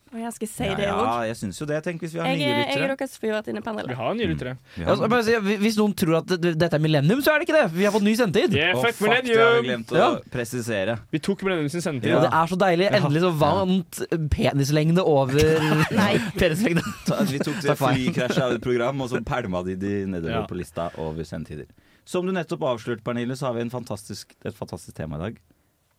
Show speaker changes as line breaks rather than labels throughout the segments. Og jeg skal si
Ja,
det
ja,
òg.
jeg syns jo det. Tenk hvis vi har
Jeg,
nye
er- jeg er
lyttere.
deres flyvertinnepanel.
Vi har nye lyttere.
Vi har-
Ja, så bare si, Hvis noen tror at det- dette er millennium, så er det ikke det. Vi har fått ny sendetid.
Yeah,
Å,
fuck
fuck, det har vi
millennium!
glemt å
Ja.
presisere.
Vi tok millennium sin sendetid.
Ja.
Og det er så deilig. Endelig så vant eh, penislengde over
Nei.
penislengde.
Ta- Vi tok det
Takk for meg.
flykrasjet av et program, og så pælma de de nedover
Ja.
på lista over sendetider. Som du nettopp avslørte, Pernille, så har vi en fantastisk, et fantastisk tema i dag.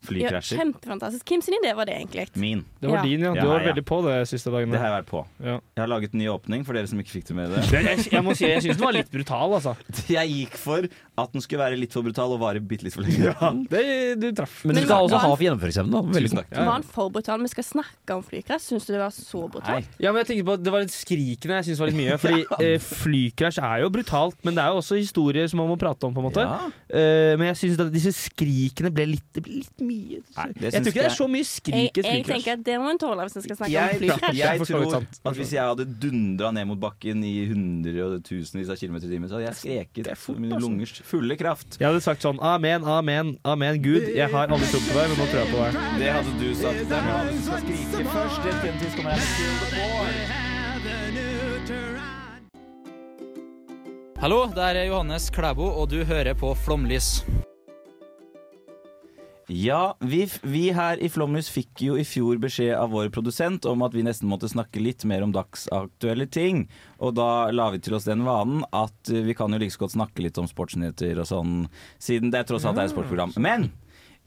Ja,
Flykrasjer.
kjempefantastisk. Hvem sin idé var det, egentlig?
Min.
Det var
Ja.
din, ja. Du
Ja,
har vært
ja.
veldig på det siste
Det
dagene.
har jeg vært på.
Ja.
Jeg har laget en ny åpning for dere som ikke fikk det med dere.
Det- Jeg, jeg må si, jeg syns den var litt brutal, altså.
Jeg gikk for at den skulle være litt for brutal og vare bitte litt for lenge.
Det, du traff.
Men du
Men
skal også
hva-
ha for gjennomføringsevne. da. Veldig
Tusen
god.
takk.
Var han for brutal? Vi skal snakke om flykrasj. Syns du det var så brutalt?
Ja, men jeg tenkte på at Det var litt skrikende jeg synes det var litt mye. Fordi eh, Flykrasj er jo brutalt, men det er jo også historier som man må prate om. på en måte
Ja.
Eh, Men jeg syns at disse skrikene ble litt, det ble litt mye.
Nei, det
jeg
syns
tror ikke det
jeg-
er så mye
Jeg,
skrik i et
jeg
Flykrasj.
tenker at det må en tåle hvis en skal snakke om
Jeg,
flykrasj.
jeg
for så vidt
tror
sant.
at hvis jeg hadde dundra ned mot bakken i hundre og tusenvis av kilometer i timen, så hadde jeg skreket mine
altså.
lungers fulle kraft.
Jeg hadde sagt sånn Amen, amen, amen, Gud. Jeg har aldri trodd på deg, men nå tror jeg på deg.
Det hadde du sagt. Det er bra. Du skal skrike først. Det er fint, vi skal med.
Hallo, det er Johannes Klæbo, og du hører på Flomlys.
Ja, vi, f- vi her i Flomlys fikk jo i fjor beskjed av vår produsent om at vi nesten måtte snakke litt mer om dagsaktuelle ting. Og da la vi til oss den vanen at eh, vi kan jo like så godt snakke litt om sportsnyheter og sånn, siden det tross alt er et sportsprogram. Men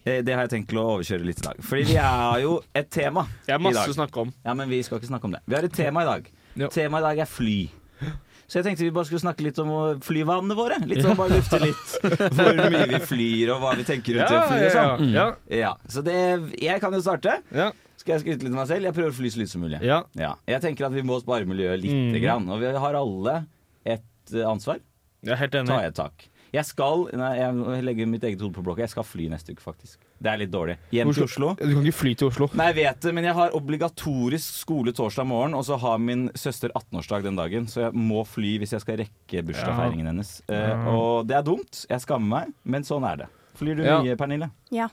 eh, det har jeg tenkt til å overkjøre litt i dag. Fordi vi har jo et tema
Jeg har
i
masse
dag.
å snakke om.
Ja, men vi skal ikke snakke om det. Vi har et tema i dag.
Ja.
Temaet i dag er fly. Så jeg tenkte vi bare skulle snakke litt om eh, flyvanene våre. Litt sånn bare lufte litt hvor mye vi flyr og hva vi tenker rundt det å fly og sånn.
ja,
Ja, så det, jeg kan jo starte.
Mm. ja,
Skal jeg skryte litt av meg selv? Jeg prøver å fly så lite som mulig.
ja.
Ja, Jeg tenker at vi må spare miljøet lite
Mhm.
grann. Og vi har alle et eh, ansvar.
Jeg er helt enig.
Tar jeg tak. Jeg skal Nei, jeg legger mitt eget hode på blokka. Jeg skal fly neste uke, faktisk. Det er litt dårlig. Hjem til Oslo.
Du kan ikke fly til Oslo.
Nei, jeg vet det, men jeg har obligatorisk skole torsdag morgen, og så har min søster 18-årsdag den dagen, så jeg må fly hvis jeg skal rekke bursdagsfeiringen hennes. Eh,
Ja.
og det er dumt. Jeg skammer meg, men sånn er det. Flyr du
Ja.
mye, Pernille?
Ja.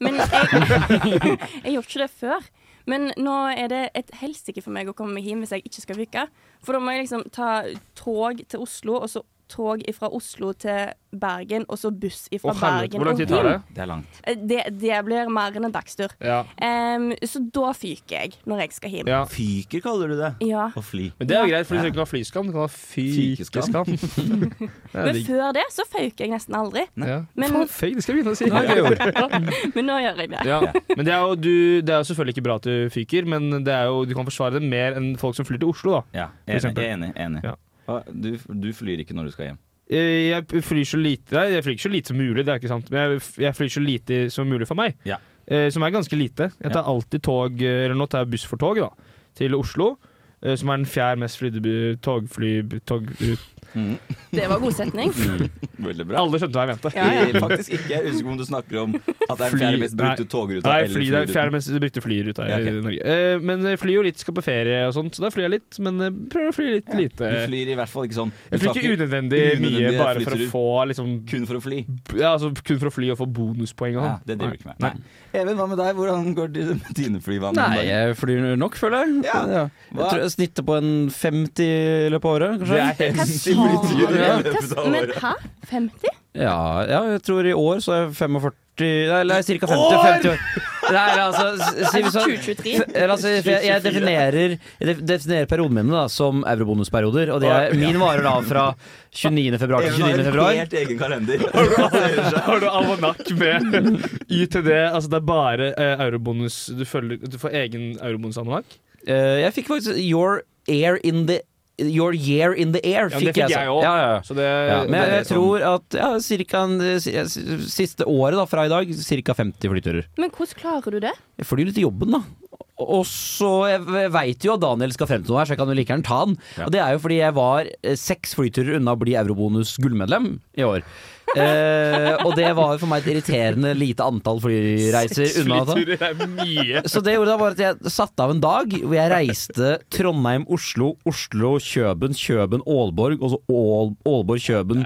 Men jeg, jeg gjorde ikke det før. Men nå er det et helsike for meg å komme meg hjem hvis jeg ikke skal rykke. For da må jeg liksom ta tog til Oslo, og så tog fra Oslo til Bergen, og så buss fra
Å, helvete,
Bergen
hvor lang tid
og
tar det?
Mm. Det er langt.
hjem. Det, det blir mer enn en dagstur.
Ja.
Em, så da fyker jeg når jeg skal hjem.
ja.
Fyker kaller du det.
Ja.
Å fly.
Men det er jo greit, for du trenger ikke ha flyskam. Du kan ha
Fikeskam.
fikeskam. Det er
Men
digg.
før det så føyk jeg nesten aldri.
Ja.
Men-
Faen, fake, det skal jeg begynne å si.
Men nå gjør jeg det.
Ja. Men det er, jo, du, det er jo selvfølgelig ikke bra at du fyker, men det er jo, du kan forsvare det mer enn folk som flyr til Oslo, da.
Ja, enig.
eksempel.
enig, enig.
Ja.
Hva, Du, du flyr ikke når du skal hjem.
Eh, Jeg flyr så lite Nei, jeg flyr ikke så lite som mulig, det er ikke sant. Men jeg, f- jeg flyr så lite som mulig for meg.
Ja.
Eh, som er ganske lite. Jeg tar alltid tog, eh, eller nå tar jeg buss for tog, da. Til Oslo. eh, Som er den fjerde mest flydde bu- togfly... Togrut.
Det var god setning.
Veldig bra.
Alle skjønte hva jeg mente.
Ja, ja.
Faktisk ikke. Jeg husker om du snakker om at det er den
Fly-
fjerde mest brukte
nei.
togruta.
Nei, fly,
eller
det er
flyruten.
fjerde mest brukte flyruta
Ja, ok.
i Norge. Eh, men jeg flyr jo litt, skal på ferie og sånt, så da flyr jeg litt. Men eh, prøver å fly litt lite.
Du flyr i hvert fall ikke sånn. Du
Jeg flyr ikke
snakker
unødvendig mye
unødvendig,
bare
jeg
for å
flytter
få liksom
kun for å fly.
ja, altså, Kun for å fly og få bonuspoeng og
Ja,
sånn.
det driver du ikke med.
Nei.
Nei. Even, hva med deg? Hvordan går det med dine flyvaner?
Nei, jeg flyr nok, føler jeg.
Ja.
Ja.
Hva?
Jeg tror jeg snitter på en 50 i løpet av året,
Det
kanskje.
er helt
Hva
Det blir dyrt i
sa
løpet
du?
av
Hva- Men
året.
hæ? 50?
Ja, ja, jeg tror i år så er jeg 45 Nei, eller ca. 50,
År!
50 år. Nei, eller altså, si vi sånn
2023?
F- eller altså, for jeg, jeg definerer, jeg def- definerer periodene mine da, som eurobonusperioder. Og det er, min varer da fra 29. februar til
Even har
29.
en
februar.
helt egen kalender.
Har du almanakk med YTD? Altså det er bare eh, eurobonus du, følger, du får egen eurobonusalmanakk?
Eh, jeg fikk faktisk Your Air in the Your Year in the Air.
Ja, men det fikk
så.
jeg også.
Ja, ja, ja.
Så det,
Ja, men jeg,
det sånn
jeg tror at ja, cirka en, eh, si- si- siste året da, fra i dag, ca. 50 flyturer.
Men hvordan klarer du det?
Jeg flyr litt til jobben, da. Og så, Jeg, jeg veit jo at Daniel skal frem til noe her, så jeg kan jo like gjerne ta han. Og Det er jo fordi jeg var eh, seks flyturer unna å bli eurobonus gullmedlem i år. Eh, og det var for meg et irriterende lite antall flyreiser unna. Da.
Flyturer er mye.
Så det gjorde da bare at jeg satte av en dag hvor jeg reiste Trondheim-Oslo, Oslo-Kjøben, Kjøben-Ålborg, og så Ål- Ålborg-Kjøben.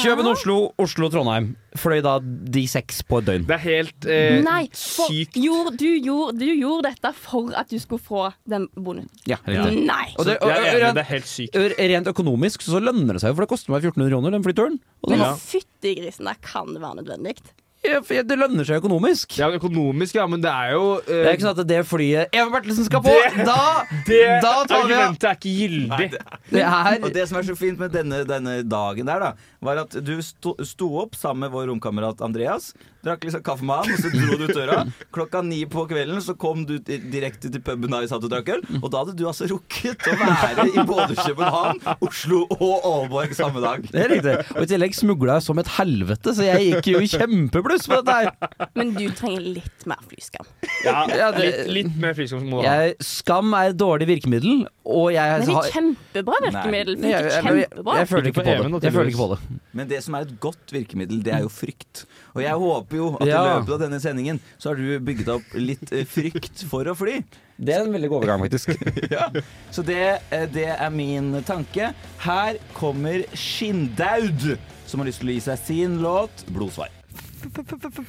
Kjøben-Oslo, Oslo-Trondheim. Fløy da de seks på et døgn.
Det er helt eh,
Nei, for,
sykt.
gjorde- du, gjorde, du gjorde dette for at du skulle få den bonusen.
Ja, riktig.
Nei!
Og det, og,
Jeg er enig, det
og,
er helt sykt.
og, rent økonomisk så lønner det seg jo, for det koster meg 1400 kroner den flyturen. Og det,
Men
Ja.
fytti grisen, der kan det være nødvendig.
Ja, for det lønner seg økonomisk.
Ja, økonomisk, ja, men det er jo eh,
Det er ikke sånn at det flyet Even Bertelsen skal på!
Det-
Da,
det
da tar vi av!
argumentet er ikke gyldig.
Det
Og
er
det som er så fint med denne, denne dagen der, da, var at du sto, sto opp sammen med vår romkamerat Andreas, drakk liksom kaffe med han, og så dro du ut døra. Klokka ni på kvelden så kom du di- direkte til puben der vi satt og drakk øl, og da hadde du altså rukket å være i både København, Oslo og Aalborg samme dag.
det er riktig. Og i tillegg smugla jeg som et helvete, så jeg gikk jo i kjempebluss på dette her.
Men du trenger litt mer flyskam.
Ja,
Ja, det-
litt, litt mer flyskam må du ha.
Jeg, skam er et dårlig virkemiddel, og jeg
Men det
har-
er kjempebra virkemiddel.
Nei, jeg, jeg,
Funker
jeg,
kjempebra.
jeg føler
Ikke
ikke
på
på
Even, da,
det. Jeg føler ikke på
tydeligvis.
det.
Men det som er et godt virkemiddel, det er jo frykt. Og jeg håper jo at i
Ja.
løpet av denne sendingen så har du bygget opp litt eh, frykt for å fly.
Det er en veldig god overgang, faktisk.
Så det, eh, det er min tanke. Her kommer Skinndaud, som har lyst til å gi seg sin låt 'Blodsvar'.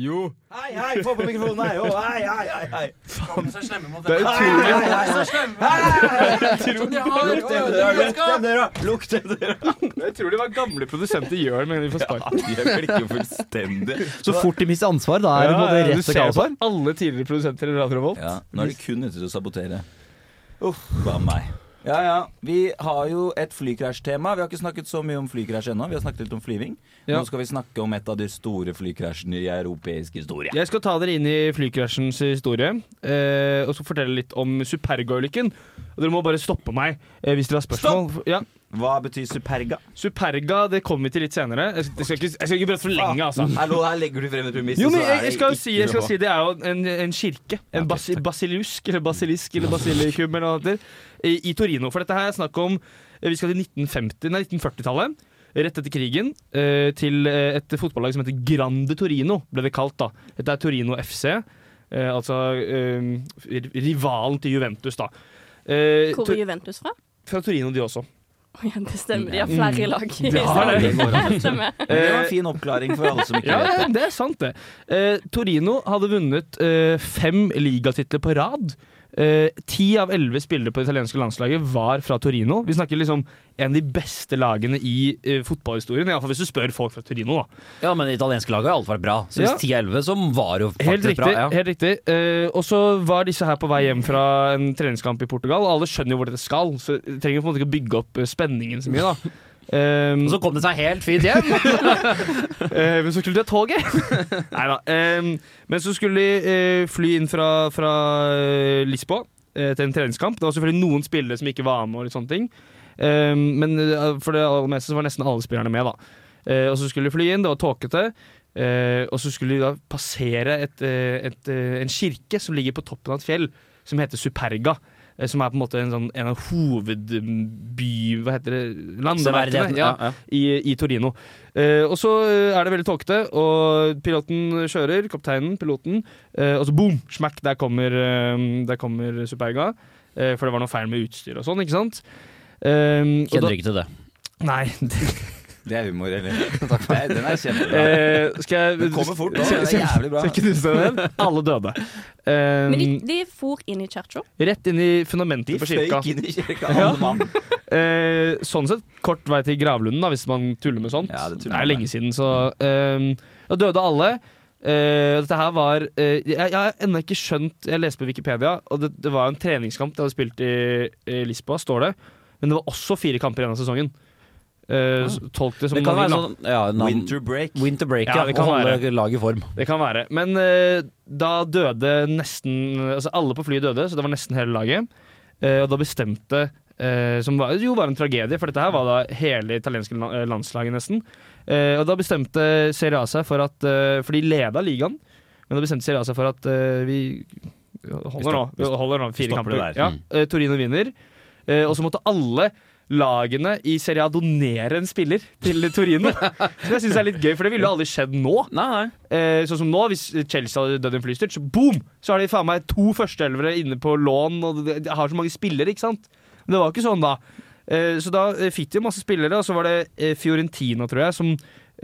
Jo.
Hei, hei, få på mikrofonen! Hei, å, hei, hei, hei, hei.
Det er utrolig.
Hei, hei, hei. Lukk den døra, lukk den døra! Lukk den døra!
Det er utrolig hva gamle produsenter gjør med de får sparken.
De klikker jo fullstendig.
Så fort de mister ansvar, da er det
du
både rett og
ser på
kaosvar.
alle tidligere produsenter i Radio Revolt.
Ja, nå er de kun ute til å sabotere. Uff, hva meg. Ja, ja. Vi har jo et flykrasjtema. Vi har ikke snakket så mye om flykrasj ennå. Vi har snakket litt om flyving.
Ja.
Nå skal vi snakke om et av de store flykrasjene i europeisk historie.
Jeg skal ta dere inn i flykrasjens historie eh, og så fortelle litt om Superga-ulykken. Og Dere må bare stoppe meg eh, hvis dere har spørsmål. Ja.
Hva betyr superga?
Superga det kommer vi til litt senere. Jeg skal, jeg skal ikke, jeg skal ikke prate for lenge, altså.
Hallo, her legger du frem et premiss.
Jo,
og
men
så er
jeg, jeg skal
det
jo si,
ikke
jeg skal
noe.
si det er jo en, en kirke. En basi, basiliusk, eller basilisk, eller basilikum, eller hva det heter. I, I Torino. For dette her er snakk om eh, Vi skal til 1950, nei, 1940-tallet. Rett etter krigen. eh, Til eh, et fotballag som heter Grande Torino, ble det kalt da. Dette er Torino FC. eh, altså eh, ri- rivalen til Juventus, da. Eh,
Hvor
Tor-
er Juventus fra?
fra Torino, de også.
Å Ja, det stemmer, de har flere lag. i
har
Italia.
det. Eh,
Det stemmer.
Men Det var en fin oppklaring for alle som ikke
Ja,
vet det.
det er sant, det. Eh, Torino hadde vunnet eh, fem ligatitler på rad Eh, Ti av elleve spillere på det italienske landslaget var fra Torino. Vi snakker liksom en av de beste lagene i eh, fotballhistorien. Iallfall hvis du spør folk fra Torino, da.
Ja, men det italienske laget har alltid vært bra. Så hvis
Ja.
10-11, så var det jo
Helt
faktisk
riktig.
bra. Ja.
helt riktig Eh, Og så var disse her på vei hjem fra en treningskamp i Portugal. Alle skjønner jo hvor dette skal, så de trenger på en måte ikke å bygge opp eh, spenningen så mye. da Ehm,
Og så kom det seg helt fint hjem!
eh, Men så skulle de ta toget! Nei da. men så skulle de eh, fly inn fra, fra eh, Lisboa eh, til en treningskamp. Det var selvfølgelig noen spillere som ikke var med. og litt sånne ting Ehm, Men eh, for det aller meste så var nesten alle spillerne med. da Eh, Og så skulle de fly inn, det var tåkete. Eh, og så skulle de da passere et, eh, et, eh, en kirke som ligger på toppen av et fjell, som heter Superga. eh, Som er på en måte en, sånn, en av hovedby... Hva heter det? Landemerkene
Severdigheten,
ja,
ja, ja.
i, i Torino. Eh, og så eh, er det veldig tåkete, og piloten kjører, kapteinen, piloten, eh, og så boom, smack, der kommer, eh, der kommer Superga. Eh, for det var noe feil med utstyr og sånn, ikke sant? Eh, og da,
Kjenner ikke til det.
nei, det,
Det er humor, eller? Takk for det. Den er kjempebra.
eh, skal jeg
Den kommer fort nå. Det er jævlig bra.
Skal ikke du stå der? Alle døde. Ehm,
Men de, de for inn i kirka.
rett inn i fundamentet
De
på kirka.
føyk inn i kirka, alle mann.
Eh, sånn sett kort vei til gravlunden, da, hvis man tuller med sånt.
Ja, det tuller
er
man med.
lenge siden, så ehm, Da døde alle. Eh, dette her var eh, Jeg jeg har ennå ikke skjønt Jeg leste på Wikipedia, og det, det var en treningskamp de hadde spilt i, i Lisboa, står det. Men det var også fire kamper igjen av sesongen.
Ah.
Eh, så Tolk det som
Det kan
man
være
vil, da.
sånn ja, navn-
Winter break.
Winter break,
Ja,
ja.
det
Å
kan
holde laget i form.
Det kan være. Men eh, da døde nesten Altså alle på flyet døde, så det var nesten hele laget. Eh, og da bestemte eh, Som var, jo var en tragedie, for dette her var da hele italienske la- eh, landslaget, nesten. Eh, og da bestemte Serie A seg for at eh, For de leda ligaen, men da bestemte Serie A seg for at eh, vi holder nå, vi holder nå fire
stopper
kamper.
det der. Mm.
Ja, eh, Torino vinner. Eh, og så måtte alle lagene i Serie A donere en spiller til Torino. Som jeg syns er litt gøy, for det ville jo aldri skjedd nå.
Nei, nei.
Eh, sånn som nå, hvis Chelsea hadde dødd i en flystyrt, så boom! Så har de faen meg to førsteelvere inne på lån, og de de har så mange spillere, ikke sant? Men det var ikke sånn da. Eh, så da eh, fikk de jo masse spillere, og så var det eh, Fiorentina, tror jeg, som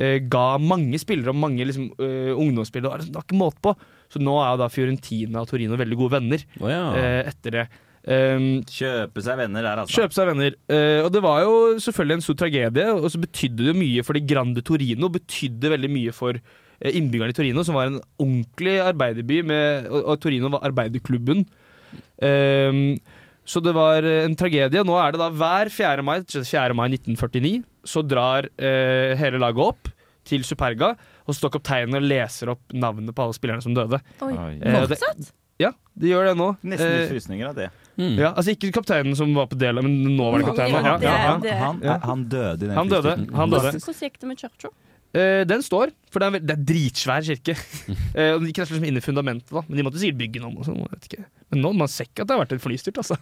eh, ga mange spillere og mange liksom, eh, ungdomsspillere. og Det var- det var ikke måte på. Så nå er jo da Fiorentina og Torino veldig gode venner
Å ja.
eh, etter det. Um,
Kjøpe seg venner der, altså.
Kjøpe seg venner. Eh, og det var jo selvfølgelig en stor tragedie, og så betydde det mye fordi Grande Torino betydde veldig mye for eh, innbyggerne i Torino, som var en ordentlig arbeiderby, med, og, og Torino var arbeiderklubben. Eh, så det var eh, en tragedie. Nå er det da hver 4. mai, 4. mai 1949, så drar eh, hele laget opp til Superga, og så står kapteinen og leser opp navnene på alle spillerne som døde.
Oi.
Oi.
Eh, det-
Fortsatt?
Ja, de gjør det nå.
Nesten
Eh,
litt frysninger av det.
Mm.
ja, altså ikke kapteinen som var på delen, men nå var det kapteinen.
Ja,
Ja, ja, ja.
det-
Han, eh,
Ja.
han døde i den
Han døde.
flystyrten.
Han døde.
Hvordan gikk det med kirka?
Eh, den står, for det er en veld- det er en dritsvær kirke. Eh, og De krasjer liksom inn i fundamentet, da men de måtte sikkert bygge den om. Og sånn, jeg vet ikke. Men nå, man ser ikke at det har vært en flystyrt. Altså.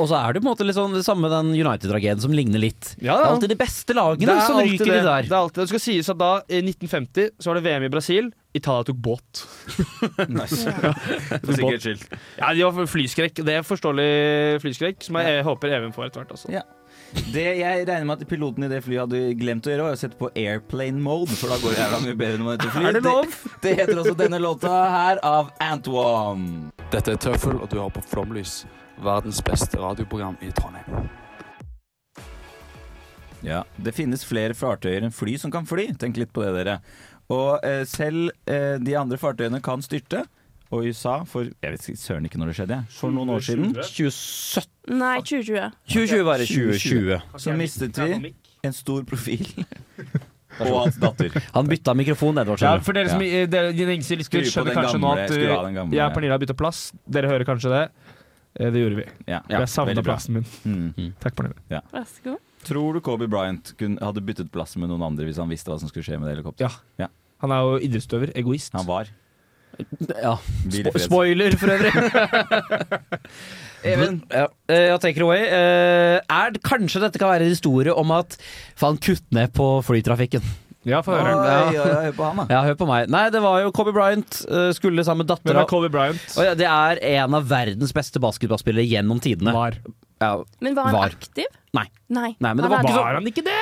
Og så er det på en måte litt sånn det samme med den United-tragedien som ligner litt.
Ja,
Det er
ja.
alltid de beste lagene som ryker
det.
i det
det
der.
er alltid det. Det skal sies at da, i 1950, så var det VM i Brasil. Italia tok båt.
Nice. For sikkerhets skyld.
Ja, De var flyskrekk. Det er forståelig flyskrekk, som jeg håper Even får etter hvert. Altså.
Ja. Det jeg regner med at piloten i det flyet hadde glemt å gjøre, var å sette på airplane mode, for da går det jævla mye bedre når man heter fly.
Er det lov?
Det, det heter også denne låta her av Antoine.
Dette er Tøffel, og du hører på Flomlys, verdens beste radioprogram i Trondheim.
Ja, det finnes flere fartøyer enn fly som kan fly. Tenk litt på det, dere. Og eh, selv eh, de andre fartøyene kan styrte. Og USA for jeg vet ikke, søren ikke når det skjedde, jeg, for noen år
Mm.
siden,
2017
Nei, 2020.
2020 var det.
2020. så mistet vi en stor profil. Og hans datter.
Han bytta mikrofon nedover.
Ja,
skjønner du.
for dere som eh, dere, de lengste lyst
Skru på
skjønner
den
kanskje nå
gamle,
at
skru av den
eh,
gamle.
jeg og Pernille har bytta plass. Dere hører kanskje det. Eh, Det gjorde vi.
Ja,
jeg savna
veldig bra.
plassen min.
Mm.
Takk, Pernille.
Vær så god.
Tror du Kobe Bryant kun, hadde byttet plass med noen andre hvis han visste hva som skulle skje med det helikopteret?
Ja. Han er jo idrettsutøver. Egoist.
Han var.
Ja.
Hvil i fred.
Spoiler, for øvrig. Even, ja, eh, jeg tenker away. Eh, Er det- kanskje dette kan være en historie om at faen, kutt ned på flytrafikken.
Ja, få
Oi,
høre.
oi, oi, hør på han, da.
Ja, hør på meg. Nei, det var jo Kobe Bryant. eh, Skulle sammen med
Hvem
dattera
er Kobe Bryant?
Og ja, Det er en av verdens beste basketballspillere gjennom tidene.
Var.
ja.
Men var han
Var.
aktiv?
Nei.
Nei.
Nei, men det var ikke så
Var han ikke det?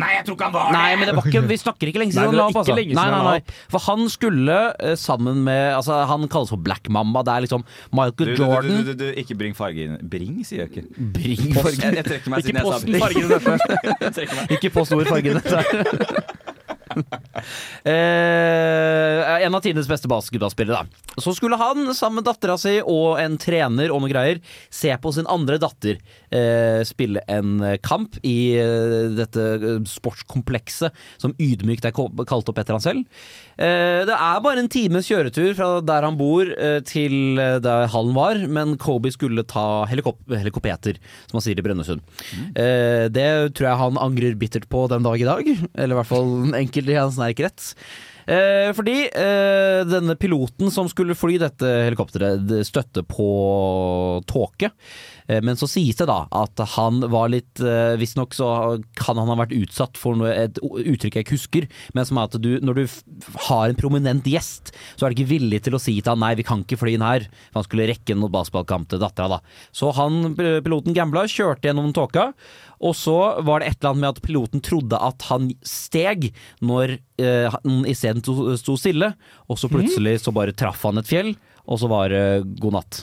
Nei, jeg tror ikke han var
Nei, men det var ikke, vi snakker ikke
Nei,
lenge siden
det
han la
var
opp.
ikke
Altså.
lenge siden
Nei, nei,
han la
nei. For han skulle eh, sammen med altså, Han kalles for Black Mamba. Det er liksom Michael
du, du, du,
Jordan
du, du, du, ikke bring farge inn. Bring, sier jeg ikke.
Bring
Post, jeg,
fargen
jeg trekker meg
Ikke
siden jeg sa
posten
bring.
fargen i dette.
Jeg trekker meg.
Ikke post ord fargen eh, En av tidenes beste basketballspillere da. Så skulle han sammen med dattera si Og en trener og noen greier Se på sin andre datter eh, Spille en eh, kamp I eh, dette eh, sportskomplekset Som ydmykt er ko- kalt opp etter han selv eh, Det er bare en times kjøretur Fra der han bor eh, Til eh, der hallen var Men Kobe skulle ta helikop helikopeter Som han sier i Brønnesund Eh, det tror jeg han angrer bittert på den dag i dag. Eller i hvert fall enkelte i hans nær krets. Eh, fordi eh, denne piloten som skulle fly dette helikopteret, det støtte på tåke. Eh, men så sies det da at han var litt eh, Visstnok så kan han ha vært utsatt for noe, et o- uttrykk jeg ikke husker, men som er at du, når du f har en prominent gjest, så er du ikke villig til å si til han nei, vi kan ikke fly inn her. For han skulle rekke en basketballkamp til dattera, da. Så han, eh, piloten gambla, kjørte gjennom tåka, og så var det et eller annet med at piloten trodde at han steg når eh, han isteden sto- sto stille, og
Mhm.
så plutselig så bare traff han et fjell, og så var det god natt.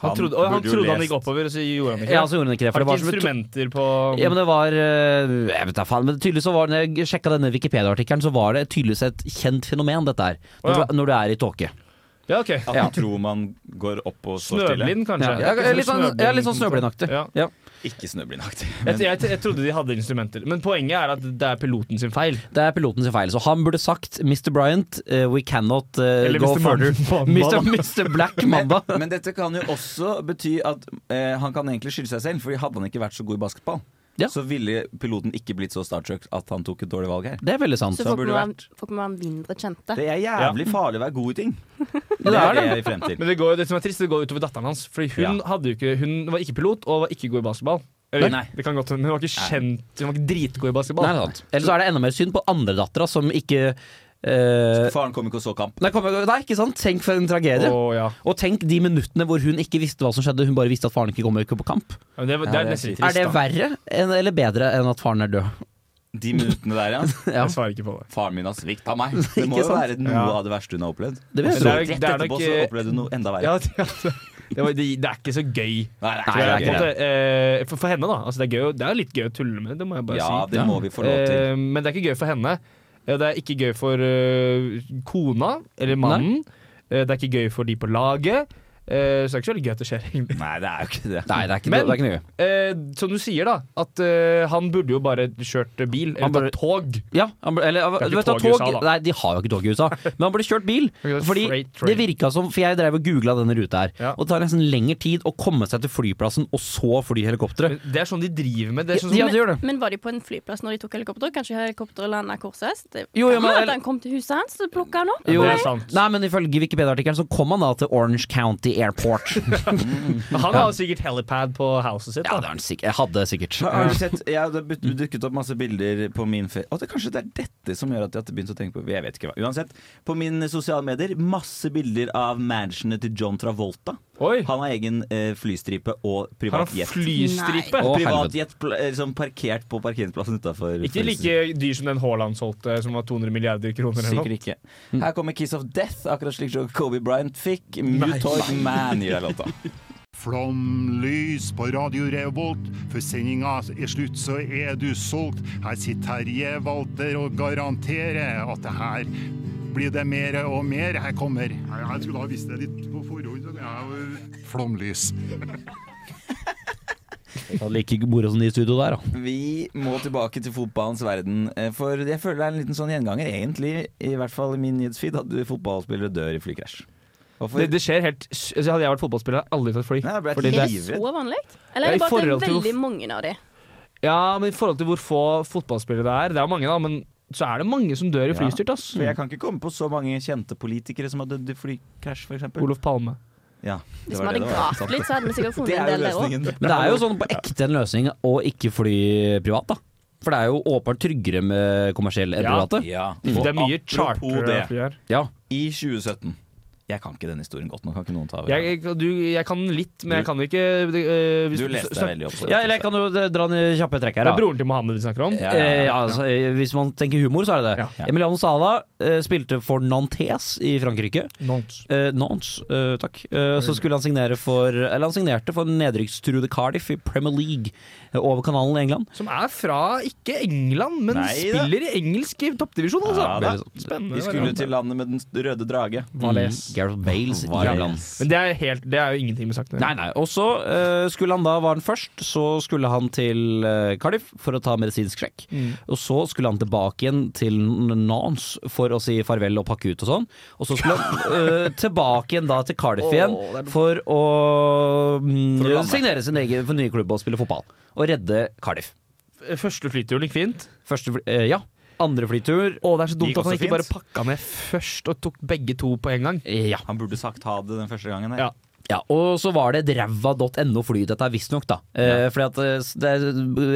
Han trodde, og han,
burde jo
trodde han
lest.
gikk oppover, så gjorde han ikke
Ja, så gjorde han ikke det. For
Har
det
ikke
var som et
instrumenter på
Ja, men det var eh, Jeg vet da faen, men tydelig så var det Når jeg sjekka denne Wikipedia-artikkelen, så var det tydeligvis et kjent fenomen, dette her.
Å,
Når,
ja.
du, når du er i tåke.
Ja, ok.
At
Ja.
man tror man går opp og står stille.
Snøblind, kanskje.
Ja, ja, litt sånn- ja, litt sånn snøblindaktig.
Ja.
Ikke snøblindaktig.
Jeg, jeg, jeg trodde de hadde instrumenter, men poenget er at det er piloten sin feil.
Det er piloten sin feil. Så han burde sagt Mr. Bryant, eh, we cannot eh,
Eller
go
Mr.
further.
Mamba,
Mr.
da.
Mr. Black Mamba.
Men dette kan jo også bety at eh, han kan egentlig skylde seg selv, Fordi hadde han ikke vært så god i basketball,
Ja.
så ville piloten ikke blitt så startstruck at han tok et dårlig valg her.
Det er veldig sant.
Så
han
folk
burde
må, være, folk må være mindre kjente.
Det er jævlig farlig å være god i ting.
Det er det.
jeg vil frem til.
Men det, går, det som er trist, det går utover datteren hans. Fordi hun, hadde jo ikke, hun var ikke pilot og var ikke god i basketball. Eller,
Nei.
Det kan godt, hende, hun var ikke kjent Hun var ikke dritgod i basketball.
Nei, det er sant. Eller så er det enda mer synd på andredattera, som ikke eh,
Faren kom ikke og så kamp.
nei, kom, nei, ikke sant? Tenk for en tragedie.
Å, ja.
Og tenk de minuttene hvor hun ikke visste hva som skjedde, hun bare visste at faren ikke kommer ikke på kamp.
Ja, men det, det er
Ja, det er
nesten litt
trist.
Er
trist.
det
da.
verre enn, eller bedre enn at faren er død?
De minuttene der, ja.
Ja.
Jeg svarer ikke på det.
Faren min har svikta meg. Det må
Ikke
jo
sant?
være noe
Ja.
av det verste hun har opplevd.
Det vil jeg
Men
Så
tro.
det er-
rett
det er
etterpå
nok,
så
eh,
opplevde hun noe enda verre.
Ja, det, altså, det, var, det, det er ikke så gøy.
Nei, det
tror
er
jeg,
ikke
på en
det.
måte. Eh, for, for henne, da. Altså, det, er gøy, det er jo litt gøy å tulle med, det må jeg bare
Ja,
si.
det må vi få lov til.
Eh, men det er ikke gøy for henne. Eh, Det er ikke gøy for eh, kona eller mannen. Eh, det er ikke gøy for de på laget. Eh, så det er ikke så veldig gøy at det skjer, egentlig.
Nei, det er jo ikke det.
Nei, det er ikke,
Men-
det er ikke noe gøy.
Eh, som du sier, da. At eh, han burde jo bare kjørt bil, eller
Han burde-
tatt tog.
Ja, han ble, eller,
er
du
ikke
vet, da,
tog i
tog,
USA, da.
Nei, de har jo ikke tog i USA, men han ble kjørt bil.
Det er ikke
Fordi
freight train.
det virka som For jeg drev og googla denne ruta her,
Ja.
og det tar nesten lengre tid å komme seg til flyplassen og så fly helikopteret.
Men Det er sånn de driver med. Det er sånn
Ja,
som,
det gjør det.
Men var de på en flyplass når de tok helikopter? Kanskje helikopteret landa korsest? Det
Jo, jo,
kan
men-
være at han kom til huset hans og plukka han opp?
det
Jo,
er sant.
Nei, men ifølge Wikipedia-artikkelen så kom han da til Orange County Airport.
Han har jo sikkert helipad på houset sitt.
ja, det
Da.
er han sikkert. Jeg hadde sikkert.
Har du sett, jeg hadde but- dukket opp masse bilder på min fe... Å, det, kanskje det er dette som gjør at jeg har begynt å tenke på Jeg vet ikke hva. Uansett, på mine sosiale medier, masse bilder av mansionet til John Travolta.
Oi!
Han har egen eh, flystripe og
Har
privat
han
jet.
flystripe?
Nei. Å,
Privat jet pl- eh, liksom parkert på parkeringsplassen utafor.
Ikke like dyr som den Haaland solgte, som var 200 milliarder kroner. eller noe.
Sikkert ikke. Her kommer Kiss of Death, akkurat slik som Kobe Bryant fikk. Mutoid Man gir deg låta.
Flomlys på Radio Revolt, for sendinga er slutt, så er du solgt. Her sitter Terje Walter og garanterer at det her blir det mer og mer. Her kommer Jeg skulle ha visst det litt på forhånd. Flomlys.
Det var like moro som de i studio der, da.
Vi må tilbake til fotballens verden. eh, For jeg føler det er en liten sånn gjenganger, egentlig, i hvert fall i min nyhetsfeed, at fotballspillere dør i flykrasj. Hvorfor?
Det, det skjer helt s- altså, Hadde jeg vært fotballspiller, hadde jeg aldri tatt fly.
Nei, jeg ble
Fordi
Er
livredd.
det så vanlig?
Ja,
Eller
i
er det bare
forhold
at det
til
er
hvor-
veldig mange av de?
Ja, men I forhold til hvor få fotballspillere det er Det er jo mange, da, men så er det mange som dør i flystyrt. ass
For jeg kan ikke komme på så mange kjente politikere som har dødd i flykrasj, f.eks.
Olof Palme.
Ja, det
Hvis vi
var det
hadde
det var.
gravd litt, så hadde vi sikkert funnet
Det
en
er jo
del der òg.
løsningen.
Men det er jo sånn på ekte en løsning å ikke fly privat, da. For det er jo åpenbart tryggere med kommersiell enn
Ja.
private.
Ja.
Det er mye
apropos
charter
det.
fly her.
Ja.
I 2017 Jeg kan ikke denne historien godt nok. Kan ikke noen ta over?
Jeg, jeg, du, jeg kan litt, men jeg kan ikke eh, hvis-
du leste deg veldig opp. på det.
Ja, eller jeg kan jo eh, dra en kjappe trekk
Det
her,
er
da.
broren til Mohammed vi snakker om.
Ja, ja,
Eh,
ja.
ja, altså, eh, hvis man tenker humor, så er det det.
Ja.
Emiliano Sala eh, spilte for Nantes i Frankrike.
Nons.
Eh, Nantes, eh, takk. Eh, så skulle han signere for Eller han signerte for nedrykkstruede Cardiff i Premier League eh, over kanalen i England.
Som er fra ikke England, men
Nei da.
spiller i engelsk i toppdivisjon, altså.
Ja da.
Spennende.
Vi skulle til landet med den røde drage.
Mm, Gareth Bales i
Wales.
England.
Men det er, helt, det er jo ingenting med saken. å gjøre.
Nei, nei. Og så eh, skulle han da, var han først, så skulle han til eh, Cardiff for å ta medisinsk sjekk.
Mm.
Og så skulle han tilbake igjen til Nance for å si farvel og pakke ut og sånn. Og så skulle han eh, tilbake igjen da til Cardiff igjen for å, mm,
For å lande.
signere sin egen for nye klubb og spille fotball. Og redde Cardiff.
Første flyturen gikk fint.
Første, fly- eh, ja. Andre flytur.
Å, det er så
Gikk
dumt at han
også
ikke
fint.
bare pakka ned først og tok begge to på en gang.
Ja.
Han burde sagt ha det den første gangen.
Ja.
her.
Ja, og så var det et ræva.no fly, dette er visstnok, da. Eh, Fordi at eh, s- det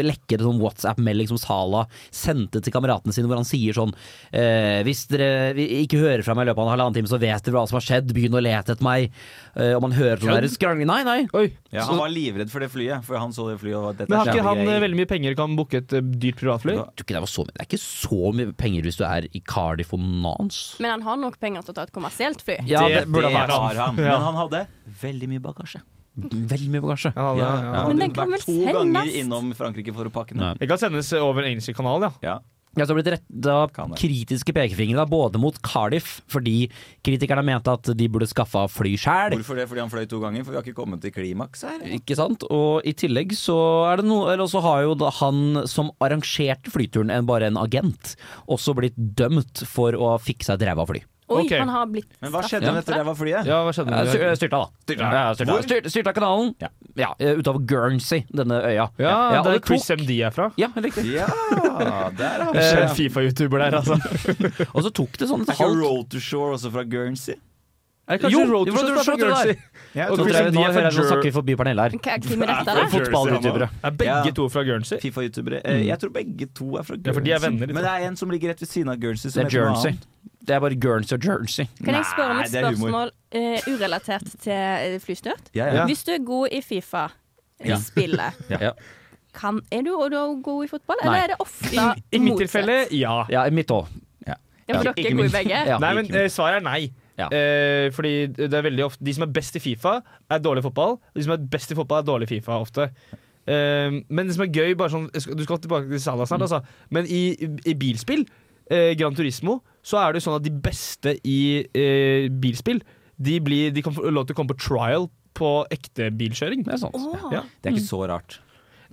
lekker en sånn WhatsApp-melding som Sala sendte til kameratene sine, hvor han sier sånn eh, Hvis dere vi- ikke hører fra meg i løpet av en halvannen time, så vet dere hva som har skjedd, begynn å lete etter meg. Eh, Og man hører sånn der skrangling Nei, nei.
Oi.
Ja, han var livredd for det flyet, for han så det flyet og at dette
Men har
er
ikke han
kjempegreier.
eh, veldig mye penger og kan booke et eh, dyrt privatfly?
Jeg tror ikke Det, var så mye. det er ikke så mye penger hvis du er i Cardiff og Nance.
Men han har nok penger til å ta et kommersielt fly.
Ja,
Det-
det, burde
det
ha vært
har han.
Ja.
Men han hadde veldig mye bagasje.
veldig mye bagasje.
Ja, det-
Ja,
ja.
han
Men
hadde
den kan
vært
vel
to ganger
sendes?
innom Frankrike for å pakke
Nei.
den.
Det kan sendes eh, over en engelsk kanal, ja.
Ja.
Ja, så har det blitt retta
Kan det.
kritiske pekefingre da, både mot Cardiff, fordi kritikerne mente at de burde skaffa fly sjæl.
Hvorfor det? Fordi han fløy to ganger? For vi har ikke kommet til klimaks her.
Ikke sant? Og i tillegg så er det noe Eller så har jo da han som arrangerte flyturen, en, bare en agent, også blitt dømt for å ha fiksa et ræva fly.
Oi,
Ok.
han har blitt
Men hva
straffet
skjedde med
for
dette ræva flyet?
Ja, hva skjedde
Eh,
med
styr-
det?
Styrta, da. Styrta, ja, styrta, styrta, styrta kanalen.
Ja.
Ja, eh, utav Guernsey, denne øya.
Ja,
og
det
det
er Chris
tok-
MD er fra. Eh,
Ja, riktig.
Ja, der har vi det.
Kjent Fifa-youtuber der, altså.
Og så tok det sånn
Er
et
ikke
halvt
Road to Shore også fra Guernsey?
Er det
Jo,
kanskje Road
det
to
var
Shore
Road
som er
to Shore,
fra
det
Guernsey?
Ja,
Og
Og
så
Chris
drev
MD
de
er fra
og hører, nå
Jer-
snakker vi forbi Pernille her.
Hva- Hvem er dette, da?
Fotballyoutubere.
Er begge
Ja.
to fra Guernsey?
Fifa-youtubere. Eh,
Mm.
Jeg tror begge to er fra Guernsey.
Ja, for de er venner, liksom. de
Men det er en som ligger rett ved siden av Guernsey. Som
Det er
heter noe
Guernsey.
annet.
Det er bare Guernsey og Jersey.
Kan jeg spørre om
Nei,
et
det er humor.
spørsmål eh, urelatert til eh, flystøt?
Ja, ja.
Hvis du er god i Fifa, i spillet,
Ja.
kan, er du og da god i fotball?
Nei.
Eller er det ofte
I mitt
motsatt?
tilfelle, ja.
Ja, mitt òg.
Ja, for dere
Ikke
er gode
min.
i begge?
Ja.
Nei, men eh, svaret er nei.
Ja.
Eh, fordi det er veldig ofte De som er best i Fifa, er dårlig i fotball. Og de som er best i fotball, er dårlig i Fifa ofte. Eh, men det som er gøy bare sånn, Du skal tilbake til Salah
Mm.
snart, altså. Men i, i bilspill, eh, Gran Turismo, så er det jo sånn at de beste i eh, bilspill, de, blir, de kan få lov til å komme på trial på ekte bilkjøring.
Det er sånn. sant.
Åh.
Ja.
Det er ikke så rart.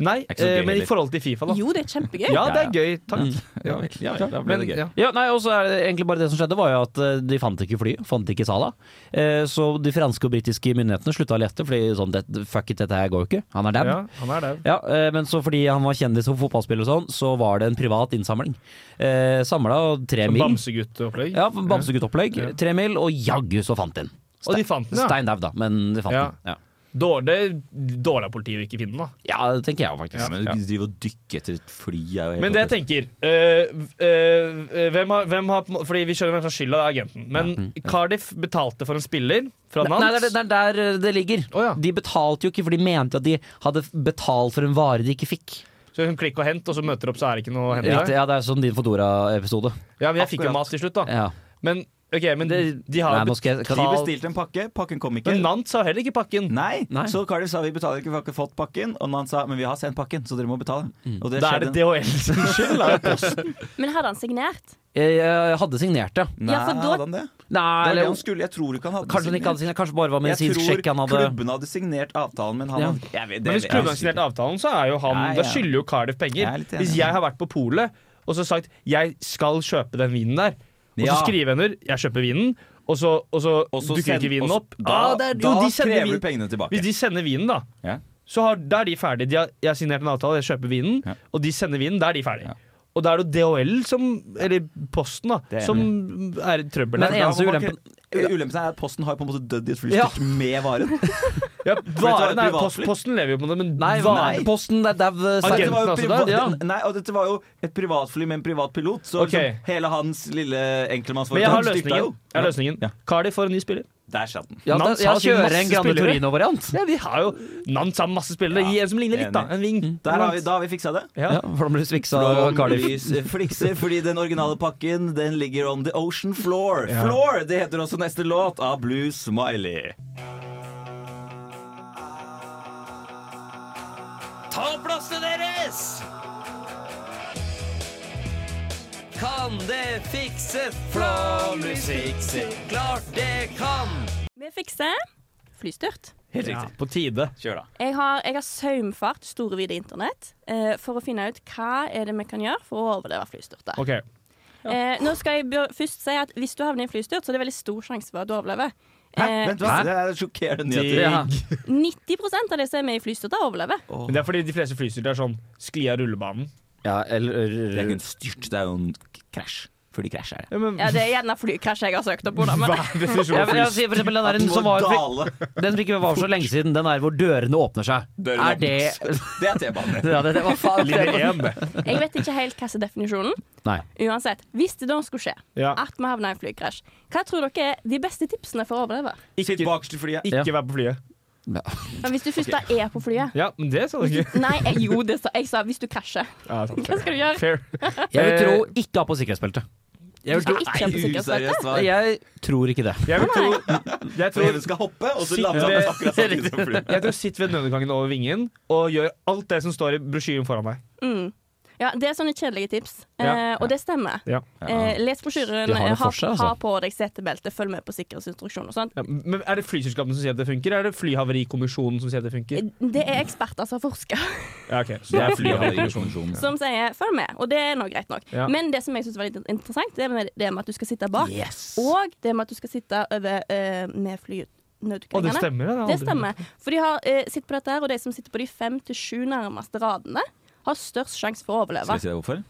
Nei,
ikke så gøy
eh, men i
heller. Mm.
forhold til Fifa, da.
Jo, det er kjempegøy.
Ja, det er gøy. Takk. Ja,
Ja, vel, da ble
men,
det gøy.
ja.
Ja, nei, og så er det egentlig bare det som skjedde var jo at eh, de fant ikke flyet, fant ikke Sala. Eh, så de franske og britiske myndighetene slutta å lete, fordi sånn det, fuck it, dette her går jo ikke. Han er dab.
ja,
Ja.
han er der.
eh, men så fordi han var kjendis som fotballspiller og sånn, så var det en privat innsamling. Eh, Samla tre
Sånn
mil.
Bamsegutt-opplegg.
Ja, Bamseguttopplegg. Tre mil, og jaggu så fant de den.
Og de fant den, ja.
Stein dau, da, men de fant
Ja.
den. Ja.
Dårlig, dårlig av politiet å ikke finne den, da.
ja, det tenker jeg jo faktisk.
Ja, men å drive og dykke etter et fly er jo helt
Men det jeg tenker eh, eh, hvem, har, hvem har på en må- Fordi vi skjønner hvem som har skylda, det er agenten. Men
mm,
Cardiff betalte for en spiller fra
Nei, det
Nantes.
er det er der eh, det ligger.
Å, ja.
De betalte jo ikke, for de mente at de hadde betalt for en vare de ikke fikk.
Så hun klikker og hent, og så møter opp, så er det ikke noe å hente.
Ja,
der.
ja det er sånn din Fodora-episode.
Ja, men jeg fikk jo mat til slutt, da.
Ja.
Men ok, men de, de har
Nei,
jo
nå skal
De
jeg kan-
bestilte en pakke, pakken kom ikke.
Men Nantes har heller ikke pakken.
Nei.
Nei.
Så Cardiff sa vi betaler ikke, vi har ikke fått pakken. Og Nan sa men vi har sendt pakken, så dere må
Mm.
betale. Og det
Da er det
skjedde.
DHL sin skyld. da.
Men hadde han signert?
Jeg, jeg hadde signert det.
Nei,
Ja, for da-
hadde han det? Det
Nei,
var det
eller,
han skulle. Jeg tror ikke han hadde
kanskje han ikke hadde signert. Kanskje bare var
Jeg
medisinsk
tror
sjekk han hadde
klubben hadde signert avtalen, men han
Ja.
hadde jeg vet, det
Men hvis
vet jeg
klubben har
ikke.
signert avtalen, så er jo han
Ja, ja.
Da skylder jo Cardiff penger.
Jeg er litt enig.
hvis jeg har vært på polet og så sagt 'jeg skal kjøpe den vinen der', og så
Ja.
skriver jeg under 'jeg kjøper vinen', og så, og så,
Og så
dukker
send-
ikke vinen
og så-
opp.
Da,
Ah, det er-
da
jo, de sender
krever
vin-
du pengene tilbake.
Hvis de sender vinen, da,
Ja.
så har, da er de ferdige. De har, jeg har signert en avtale, jeg kjøper vinen,
Ja.
og de sender vinen, da er de ferdige.
Ja.
Og da er det jo DHL som Eller Posten, da,
Det er
som er i trøbbel.
Men
her.
eneste
Da må man
ulempen
ikke- Ulempen er at Posten har på en måte dødd i et flystyrt
Ja.
med varen.
Ja,
var
varen
et
er,
privatfly.
post, posten lever jo på det, men
Nei,
varen-
nei, posten det er dau eh,
Agenten,
Svein.
Agent. altså, der, ja.
Nei, og dette var jo et privatfly med en privat pilot, så
Ok.
liksom hele hans lille
Men jeg har
enkeltmannsforetak styrta
løsningen.
jo.
Jeg har løsningen.
Ja.
Cardi får en ny spiller.
Der satt den.
Ja, da,
Nans har
jeg
sin
kjører
masse
en Grande
spillere.
Torino-variant.
Ja, de har jo Nans har masse spillere.
Ja,
Gi en som ligner litt, da.
enig. Mm.
En ving.
Der har vi, da har vi fiksa det.
Ja.
Ja, Flomlys Viksa og Cardiff.
Flomlys flikser, fordi den originale pakken Den ligger on the ocean floor. Floor! Det heter også neste låt av Blue Smiley.
Ta plassene deres! Kan det fikses? Flomlys fikser. Klart det kan.
Vi fikser flystyrt.
Helt riktig.
På tide.
Kjør, da.
Jeg har, jeg har saumfart store vide internett eh, for å finne ut hva er det vi kan gjøre for å overleve flystyrtet.
Ok.
Eh, nå skal jeg bør- først si at hvis du havner i en flystyrt, så er det veldig stor sjanse for at du overlever.
Hæ?
Eh,
Vent, hva? Det er sjokkerende nyheter.
Ja.
90 av de som er med i flystyrter, overlever.
Men det er fordi de fleste flystyrter er sånn skli av rullebanen.
Ja, eller
Det er ikke en styrt, det er jo en k- krasj. Fordi krasj er det.
Ja, men,
Ja, Det er gjerne flykrasj jeg har søkt opp på. Da, men
hva er definisjonen
ja,
av
men jeg
flystyrt?
sier for eksempel den, der, den, som
må
var,
dale.
den som ikke var så lenge siden, den der hvor dørene åpner seg.
Dørene
er det
Det er T-banen.
ja, det, det var faen
Linje 1.
jeg vet ikke helt hva som er definisjonen.
Nei.
Uansett, hvis det da skulle skje
Ja.
at vi havner i en flykrasj, hva tror dere er de beste tipsene for å overleve?
Sitt bakerst i flyet.
Ikke vær på flyet.
Men hvis du først da er på flyet
Ja, men det sa du ikke.
Nei, jeg, jo, det sa jeg. sa hvis du krasjer.
Ja, sant.
Hva skal du gjøre?
Fair.
Jeg vil tro ikke ha på sikkerhetsbeltet.
Du skal ikke ha på sikkerhetsbeltet.
Useriøst svar.
Jeg tror ikke det.
Jeg vil tro, jeg
For
tror
Even skal hoppe, og så
Sitt-
lander
Ja.
han akkurat samtidig som flyet.
Jeg tror sitt ved nødutgangen over vingen og gjør alt det som står i brosjyren foran deg.
Mm. Ja, det er sånne kjedelige tips,
Ja.
eh, og det stemmer.
Ja.
Eh, les brosjyren,
De har
ha,
det for seg, altså.
ha på deg setebelte, følg med på sikkerhetsinstruksjoner og sånt.
Ja, men Er det flyselskapene som sier at det funker, eller er det Flyhavarikommisjonen som sier at det funker?
Eh, Det er eksperter som forsker,
Ja, ok, så det er flyhavarikommisjonen
som sier følg med, og det er nå greit nok.
Ja.
Men det som jeg syns var litt interessant, det er med, det med at du skal sitte bak,
Yes.
og det med at du skal sitte over eh, med
Å, det
flynødutgangene.
stemmer, det. har jeg
Det
aldri-
stemmer. For de har eh, sitter på dette her, og de som sitter på de fem til sju nærmeste radene, har størst sjanse for å overleve.
si deg hvorfor?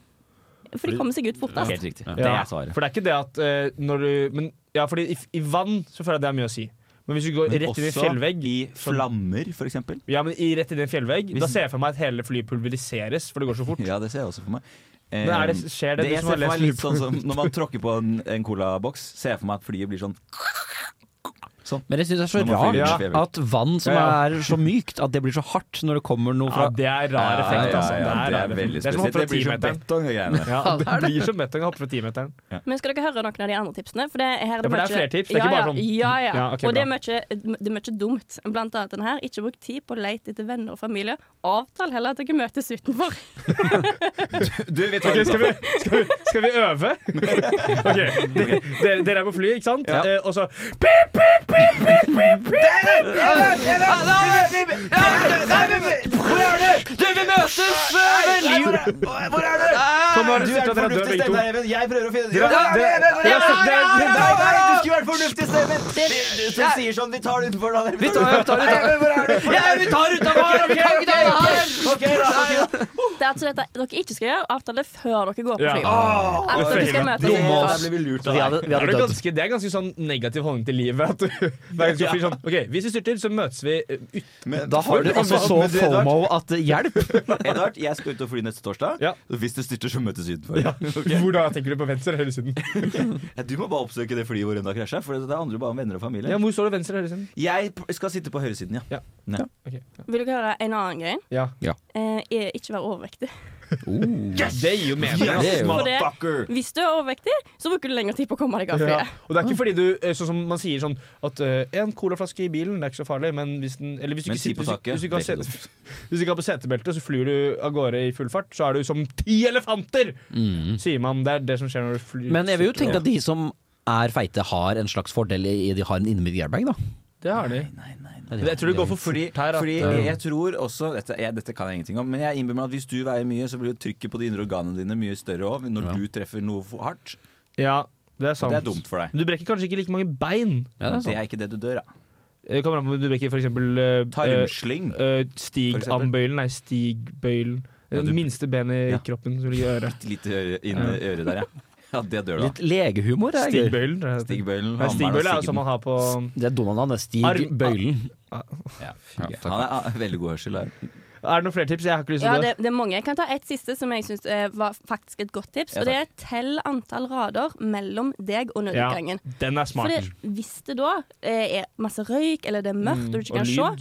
For de kommer seg ut fortest.
Helt riktig.
Ja, For det er ikke det at eh, når du men, Ja, fordi i, i vann så føler jeg det er mye å si. Men hvis du går
Men
rett inn i en
også
fjellvegg
I flammer, for eksempel.
Ja, men i, rett inn i en fjellvegg
Hvis-
Da ser jeg for meg at hele flyet pulveriseres, for det går så fort.
Ja, det ser jeg også for meg. Eh,
Men er det, skjer det,
det
du
jeg
som har
ser for meg
lest
litt sånn som Når man tråkker på en, en colaboks, ser jeg for meg at flyet blir sånn
Men jeg syns det er så
Når man
rart
fyller
Ja.
at vann som
Ja,
er så mykt, at det blir så hardt når det kommer noe
Ja,
fra
det er rar effekt, altså.
det er
rar effekt.
veldig
Det er som å hoppe
spesielt. Det
fra
blir som
timeteren.
betong og greiene.
Ja,
Ja, det
det blir som betong å hoppe fra timeteren.
Men skal dere høre noen av de andre tipsene? For det, her
Ja, for det er
mye-
flere tips, det er ikke
ja,
bare sånn-
Ja, ja. ja
Ja, ok,
og det er, mye, det er mye dumt. Blant annet den her. Ikke bruk tid på å lete etter venner og familie. Avtal heller at dere møtes utenfor.
Du, vi tar
Ok,
det
skal, vi, skal, vi, skal vi øve? Ok, de- Dere, dere er på flyet, ikke sant?
Ja.
Eh, og så
Du, vi møtes!
Hvor er du?
Kom, nå har dere
Ah, Du er
sittet
den
der og dødd,
fornuftige
begge to.
stemmen, Even. Jeg prøver å finne
Dere- dere- dere- dere- dere-
Nei, nei, du skulle vært fornuftig stemmen! Som sier sånn Vi tar det utenfor, da. Vi
tar- tar- tar-
Even, hvor er du?
Ja, vi tar utafor!
Ok, ok, ok, ok, da, ok, da.
Det er altså dette dere ikke skal gjøre. Avtale før dere går på
Ja. Ah,
fly.
Åh,
At dere skal
Dumme
møtes
Ja,
utenfor.
Der ble vi lurt
Vi
av
hadde,
deg.
vi
Er
hadde
det,
dødd.
ganske, det er ganske sånn negativ holdning til livet. At du, det er ganske fly sånn, ok, Hvis vi styrter, så møtes vi eh, ut.
Men-
Da har du
Men-
altså så
men du, Edvard,
fomo at hjelp!
Edvard, jeg skal ut og fly neste torsdag.
Ja.
Hvis det styrter, så møtes vi utenfor.
Hvor da? Tenker du på venstre eller høyresiden?
Ja, Du må bare oppsøke det flyet hvor hun har krasja, for det handler jo bare om venner og familie.
Ja, hvor står det venstre eller høyresiden?
Jeg p- skal sitte på høyresiden, ja.
Ja.
Nei.
Ok.
Vil dere høre en annen greie?
Ja.
Eh, er ikke være overvektig.
Det gir jo mening.
Yes,
ass.
For det,
Fucker!
hvis du er overvektig, så bruker du lengre tid på å komme deg av
Ja.
flyet.
Og det er ikke fordi du eh, Sånn som man sier sånn at eh, en colaflaske i bilen, det er ikke så farlig, men hvis den Eller hvis du
Men
ikke
si på
sitter- hvis
taket.
du ikke har
det er
sete-
ikke dumt.
Hvis du ikke har på setebelte, så flyr du av gårde i full fart. Så er du som ti elefanter! Sier man. Det er det som skjer når du flyr.
Men jeg vil jo tenke at de som er feite, har en slags fordel i i de har en innebygd airbag, da.
Det har de. Jeg tror det går for
Fordi,
fort her. At,
fordi
eh,
jeg tror også dette, jeg, dette kan jeg ingenting om, men jeg innbiller meg at hvis du veier mye, så blir jo trykket på de indre organene dine mye større òg, når
Ja.
du treffer noe for hardt.
ja, det er
Og
sant.
det er dumt for deg.
Men Du brekker kanskje ikke like mange bein.
Ja, det er
Det
sant.
er ikke det du dør av.
Eh, Kommer an på om du brekker for eksempel eh,
Tarmslyng.
eh, eh,
For eksempel.
Stigambøylen. Nei, stigbøylen.
Ja,
Det
du-
minste benet i
Ja.
kroppen som ligger i øret.
Bitte lite øre- inn i øret der, ja. Ja, det dør du av.
Litt legehumor er gøy.
Stigbøylen. tror jeg det heter.
Stigbøylen,
Nei,
hammeren
stigbøylen er jo som
og sigden.
man har på
Det er Donald-navnet. Stig
Arm-
Bøylen.
Ja, takk.
Han er ah, veldig god hørsel. er.
Er det noen flere tips? Jeg har ikke lyst til
Ja,
å
det, det er mange. Jeg kan ta ett siste som jeg syns var faktisk et godt tips.
Ja,
og det er tell antall rader mellom deg og nødutgangen.
dø. Den er
For
smart. Mm,
det- hvis det da eh, er masse røyk, eller det er mørkt og du ikke kan se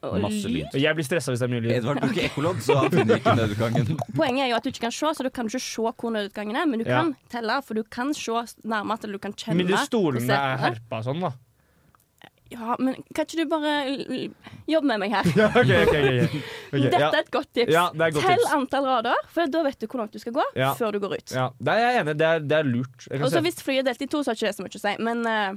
og
Masse lyd.
Og Jeg blir stressa hvis det er mye lyd.
Edvard bruker ekkolodd, så han finner ikke nødutgangen.
Poenget er jo at du ikke kan se, så du kan ikke se hvor nødutgangen er, men du
Ja.
kan telle, for du kan se nærmere til du kan kjenne
Men de stolene
prosentene.
er herpa sånn, da.
Ja, men kan ikke du bare l- l- jobbe med meg her?
Ja, ok, ok, ok, ok. Ok,
Dette
ja.
er et godt tips.
Ja, det er et godt
Tell
tips.
antall rader, for da vet du hvor langt du skal gå
Ja.
før du går ut.
Ja, det er jeg enig i. Det, er- det er lurt. Jeg kan
Og så
se-
hvis flyet er delt i to, så har ikke det så mye å si, men eh,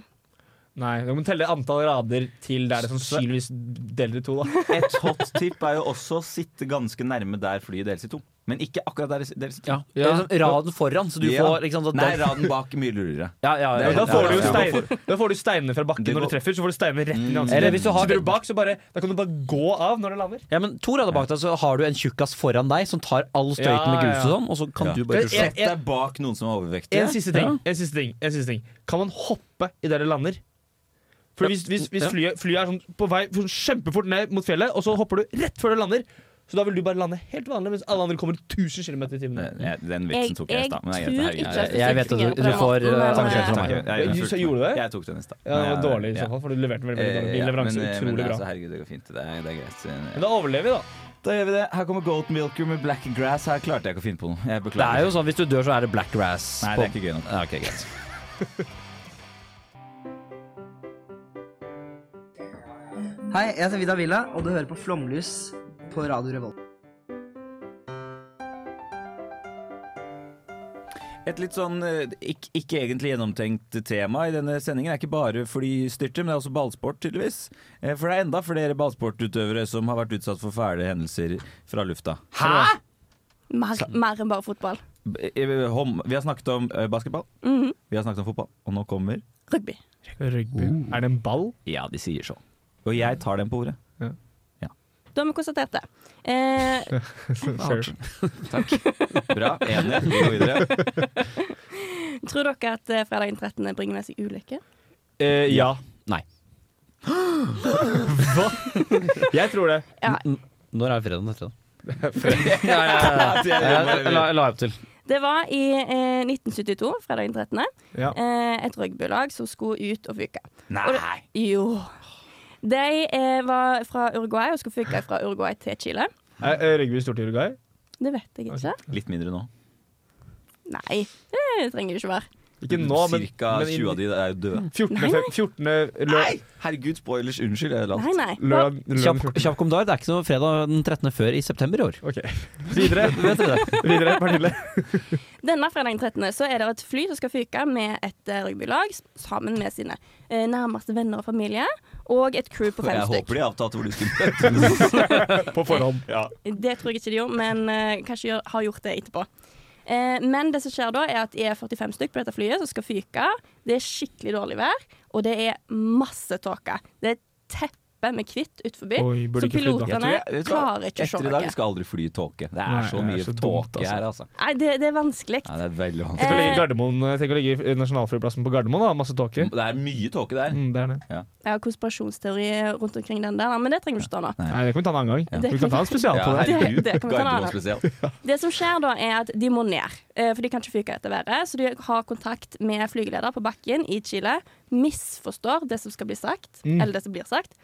Nei, Du må telle antall rader til der det sannsynligvis deler i to. da
Et hot tip er jo også å sitte ganske nærme der flyet deles i to. Men ikke akkurat der deles i to.
Ja. Det er liksom raden foran, så du
Ja.
får liksom sånn
Nei, raden bak mye lurere.
ja, ja, ja,
Det er-
Da får du jo
Ja, ja, ja.
stein, da får du steinene fra bakken
Det
når du
går-
treffer. Så får du steinene rett inn i ansiktet.
Eller hvis du har-
Sitter du bak, så bare Da kan du bare gå av når det lander.
Ja, men to rader bak deg så har du en tjukkas foran deg som tar all
Ja,
støyten med grus
ja.
og sånn, og så kan
Ja.
du bare
Det er-
rusle.
Sett deg bak noen som er overvektige.
En siste ting. En siste ting, en siste ting. Kan man hoppe i det det lander? For hvis, hvis, hvis
Ja.
flyet, flyet er sånn på vei sånn kjempefort ned mot fjellet, og så hopper du rett før det lander, så da vil du bare lande helt vanlig, mens alle andre kommer 1000 km i timen.
Nei, Den
jeg,
vitsen tok jeg i
jeg
stad. men det er greit,
tror
herregud.
ikke at
Jeg vet at du-
fungerer på den
du får,
måten,
eh,
men,
Takk, takk,
eh,
takk. Jeg-
Du
jeg- jeg-
sa- gjorde du det?
Jeg tok den i stad.
Ja, det var
Ja,
dårlig i så
ja.
fall, for du leverte veldig, veldig dårlig.
Eh,
Din
ja,
leveranse
men, eh, men
utrolig
Altså,
bra.
herregud, det går fint. Det er, det er greit.
Men da overlever vi, da.
Da gjør vi det. Her kommer Goat Milker med Black Grass. Her klarte jeg ikke å finne på noe. Jeg
Det
beklager.
er jo sånn hvis du dør, så er det black grass.
Nei, det er ikke gøy nok.
Ja, ok, greit.
Hei, jeg heter Vidar Villa, og du hører på Flomlys på Radio Revolt.
Et litt sånn eh, ikke, ikke egentlig gjennomtenkt tema i denne sendingen. Det er ikke bare flystyrter, men det er også ballsport, tydeligvis. Eh, For det er enda flere ballsportutøvere som har vært utsatt for fæle hendelser fra lufta.
Hæ?!
mer, mer enn bare fotball.
B- eh, hom- Vi har snakket om eh, basketball,
Mhm.
vi har snakket om fotball, og nå kommer
Rugby.
Er det en ball?
Ja, de sier sånn. Og jeg tar den på ordet.
Da har vi konstatert det. Eh,
Bra. Enig. Vi går videre.
tror dere at eh, fredagen 13. bringer med seg ulykke?
Eh, ja.
Nei.
Hva? Jeg tror det.
Ja,
Når er fredagen etter, da? ja, ja, ja, ja. Jeg la,
Eh,
jeg la opp til.
det var i eh, 1972, fredagen 13.,
Ja.
eh, et rugbylag som skulle ut og fyke.
Nei!
Jo. De eh, var fra Uruguay og skulle fyke fra Uruguay til Chile.
Er, er rugby stort i Uruguay?
Det vet jeg ikke.
Litt mindre nå.
Nei, det trenger det ikke være.
Ikke nå, men,
Cirka
men Mm. i
20 av de er jo døde.
14.
Nei, nei.
fe- 14. lø
Herregud, spoilers. Unnskyld. Jeg
Nei, nei.
lørdag lørdag
Kjapp,
14.
kjapp kommentar. Det er ikke noe fredag den 13. før i september i år.
Ok. Videre.
Vet dere det?
Videre, Pernille.
Denne fredagen 13. så er det et fly som skal fyke med et eh, rugbylag s- sammen med sine eh, nærmeste venner og familie, og et crew på fem
Jeg
stykk.
håper de avtalte hvor de skulle
På forhånd. Ja.
Det tror jeg ikke de gjorde, men eh, kanskje gjør, har gjort det etterpå. Eh, men det som skjer da, er at de er 45 stykk på dette flyet som skal fyke. Det er skikkelig dårlig vær, og det er masse tåke. Det er et teppe med hvitt utforbi,
Oi, burde
så
ikke flydd, da.
Jeg tror
pilotene
jeg- vet du hva?
klarer ikke å se
Etter i dag vi
noe.
skal aldri fly i tåke. Det er
Nei,
så
det er
mye
så dumt,
tåke her, altså.
Nei, det, det er vanskelig.
Nei, det er veldig
Tenk
vanskelig.
Eh,
å ligge i Gardermoen, eh, tenk å ligge i nasjonalflyplassen på Gardermoen, da. Masse
Eh,
tåke.
Det er mye tåke der.
Mm, det er det.
Jeg har konspirasjonsteori rundt omkring den der, men det trenger vi ikke ta nå.
Nei, det kan vi ta en annen gang.
Det
Vi kan ta en spesial på det.
Det- det kan vi ta en annen
Gardermoen spesielt.
Det som skjer da er at de må ned, eh, for de kan ikke fyke etter været. Så de har kontakt med flygeleder på bakken i Chile, misforstår det som skal bli sagt,
Mm.
eller det som blir sagt,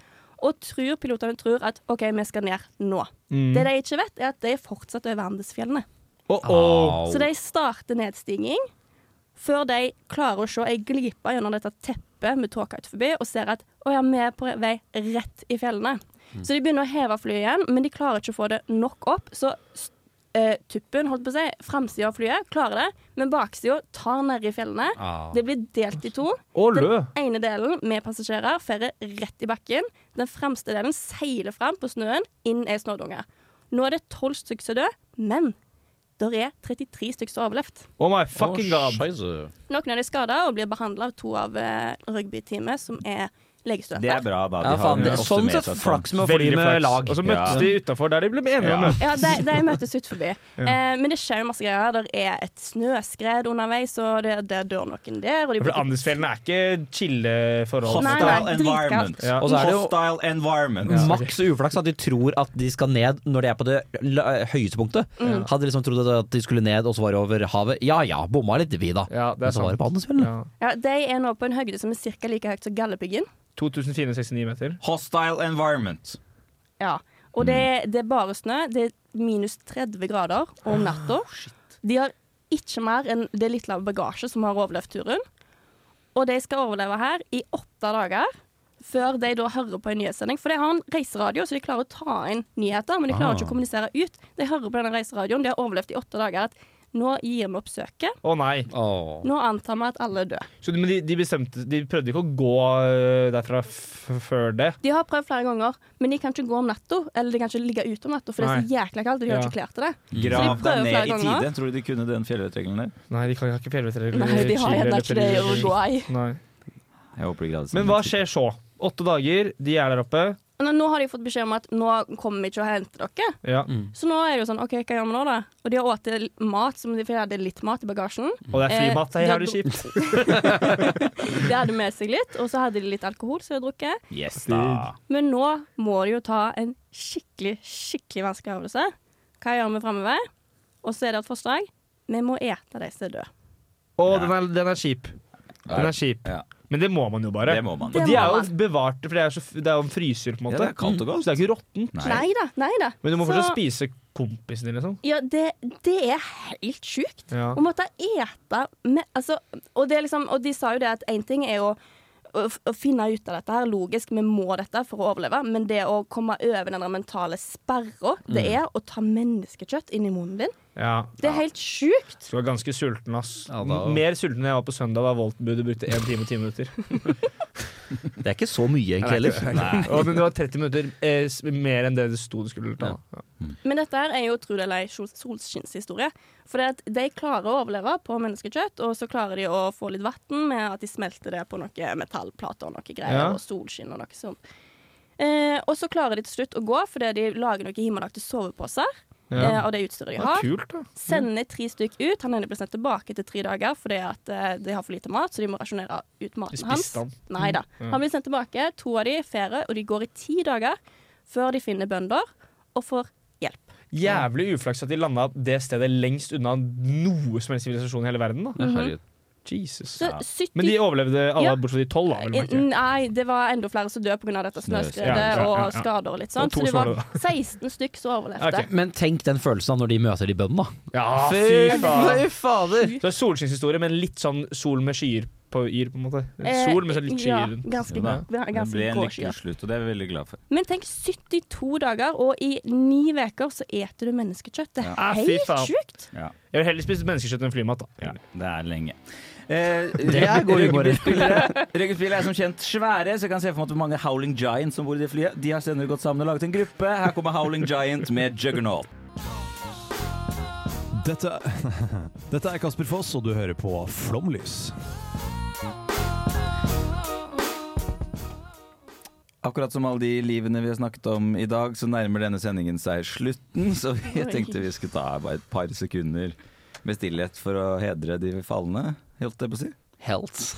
og tror pilotene tror at OK, vi skal ned nå. Det
Mm.
de ikke vet, er at de er fortsatt over Andesfjellene.
Oh, oh.
Så de starter nedstigning før de klarer å se ei glipe gjennom dette teppet med tåke utenfor, og ser at å ja, vi er på vei rett i fjellene. Så de begynner å heve flyet igjen, men de klarer ikke å få det nok opp. Så s- eh, tuppen, holdt på å si, framsida av flyet klarer det, men baksida tar ned i fjellene. Det blir delt i to.
Å, lø.
Den ene delen med passasjerer ferder rett i bakken. Den fremste delen seiler fram på snøen inn i snødunge. Nå er det tolv stykker som er døde, men der er 33 stykker som har overlevd.
Oh my fucking god.
Noen av de er skada og blir behandla av to av eh, rugbyteamet, som er legestudenter.
Det er bra, da.
Ja, faen, det- sånn sett flaks med å fly med lag.
Og så møttes de utafor der de ble enige om det.
Ja, de, de møtes ut forbi.
Ja.
Eh, men det skjer jo masse greier. Der er et snøskred underveis, og det, der dør noen der. Og de
For Andesfjellene er ikke chille forhold.
Nei, nei, Hostile environment. dritkaldt.
Ja.
Og så er det jo-
sånn
Mm.
Hostile environment.
Maks uflaks at de tror at de skal ned når de er på det la- høyeste punktet.
Mm.
Hadde liksom trodd at de skulle ned, og så var det over havet. Ja ja, bomma litt vi, da. Men så var det på Andesfjellene.
Ja, de er nå på en høyde som er ca. like høyt som Galdhøpiggen.
2469 meter.
Hostile environment.
Ja. Og
Mm.
det, det er bare snø. Det er minus 30 grader om
Ah,
natta. De har ikke mer enn det lille av bagasje som har overlevd turen. Og de skal overleve her i åtte dager. Før de da hører på en nyhetssending. For de har en reiseradio, så de klarer å ta inn nyheter. Men de klarer
Ah.
ikke å kommunisere ut. De hører på denne reiseradioen. De har overlevd i åtte dager. At nå gir vi opp søket.
Å nei.
Nå antar vi at alle er døde.
Så, de- men de, de bestemte De prøvde ikke å gå øh, derfra f før det.
De har prøvd flere ganger, men de kan ikke gå om natta. Eller de kan ikke ligge ute om natta, for det er så jækla kaldt, og de har
Ja.
ikke klær til det.
Grav
så de
deg
prøver flere
ned i
ganger.
tide. Tror du de kunne den fjellvettregelen der?
Nei, de kan, har ikke fjellvettregler.
Nei, de har gjerne ikke det i Uruguay.
Nei.
Jeg håper de gravde seg
Men
ned.
hva skjer så? Åtte dager, de er der oppe.
Nå, nå har de fått beskjed om at nå kommer vi ikke og henter dere.
Ja.
Så nå er det jo sånn, ok, hva gjør vi nå da? Og de har åt til mat, som de for de hadde litt mat i bagasjen.
Og det er
Eh,
frimat. Det
de
er jævlig
hadde-
kjipt.
De hadde med seg litt, og så hadde de litt alkohol som de hadde drukket.
Yes, da.
Men nå må de jo ta en skikkelig, skikkelig vanskelig avgjørelse. Hva gjør vi fremover? Og så er det et forslag. Vi må ete de som er døde.
Å, den, er, den er kjip. Den er kjip. Men det må man jo bare.
Det må man.
Og
Det
de
må
er
man.
jo bevarte, for det er, så, f- det er jo en fryser, på en
Ja,
måte.
det er kaldt og
Mm.
godt.
Så det er ikke råttent.
Nei da, nei da.
Men du må
Så-
fortsatt spise kompisen din, liksom.
Ja, det, det er helt sjukt.
Ja.
Å måtte ete med altså, og, det er liksom, og de sa jo det at én ting er å, å, å finne ut av dette her, logisk, vi må dette for å overleve, men det å komme over den der mentale sperra det
Mm.
er å ta menneskekjøtt inn i munnen din,
Ja.
det er helt sjukt.
Du var ganske sulten, ass.
da-
M- Mer sulten enn jeg var på søndag, da Volt-budet brukte 1 time og 10 minutter.
Det er ikke så mye, egentlig heller.
Og det var 30 minutter eh, s- mer enn det det sto det skulle ta. Ja.
Men dette her er jo tro det eller ei sol- solskinnshistorie. For det at de klarer å overleve på menneskekjøtt, og så klarer de å få litt vann med at de smelter det på noen metallplater og noe greier,
Ja.
og solskinn og noe sånt. Eh, og så klarer de til slutt å gå fordi de lager noen himmelaktige soveposer.
Ja.
Eh, og det
Ah,
utstyret de
Det er
har.
kult, da.
Sender tre stykk ut. Han ene blir sendt tilbake etter tre dager fordi at eh, de har for lite mat, så de må rasjonere ut maten
De
hans.
spiste han.
Nei da.
Ja.
Han blir sendt tilbake. To av de er ferie, og de går i ti dager før de finner bønder og får hjelp.
Jævlig uflaks at de landa det stedet lengst unna noe som helst sivilisasjon i hele verden. Da.
Ja, herregud.
Jesus.
Så 70
Men de overlevde alle
Ja. Eh, mm.
bortsett fra de tolv, da. vel, merker jeg.
Nei, det var enda flere som døde pga. dette
Snøskred.
snøskredet
Ja, ja, ja, ja.
og skader og litt sånn.
Og to
Så det var
som
16 stykk som overlevde.
Men tenk den følelsen av når de møter de bøndene.
Ja,
Fy faen.
fader! Så det er solskinnshistorie, men litt sånn sol med skyer på yr, på en måte.
Eh,
Sol med så litt
ja,
skyer rundt.
ganske- Ja.
Det
ganske
ble en
grå
lykkelig slutt, og det er vi veldig glad for.
Men tenk 72 dager, og i ni uker så eter du menneskekjøtt. Det er
Ah, fy
helt
faen.
sjukt.
Ja.
Jeg vil heller spise menneskekjøtt enn flymat, da.
Det er lenge. Eh,
Det er gode humor.
Rugbyspillere rugbyspillere er som kjent svære, så jeg kan se for meg at hvor mange Howling Giants som bor i det flyet. De har senere gått sammen og laget en gruppe. Her kommer Howling Giant med Juggernaut.
Dette, dette er Kasper Foss, og du hører på Flomlys.
Akkurat som alle de livene vi har snakket om i dag, så nærmer denne sendingen seg slutten. Så vi
Oi.
tenkte vi skulle ta bare et par sekunder med stillhet for å hedre de falne, holdt jeg på å si.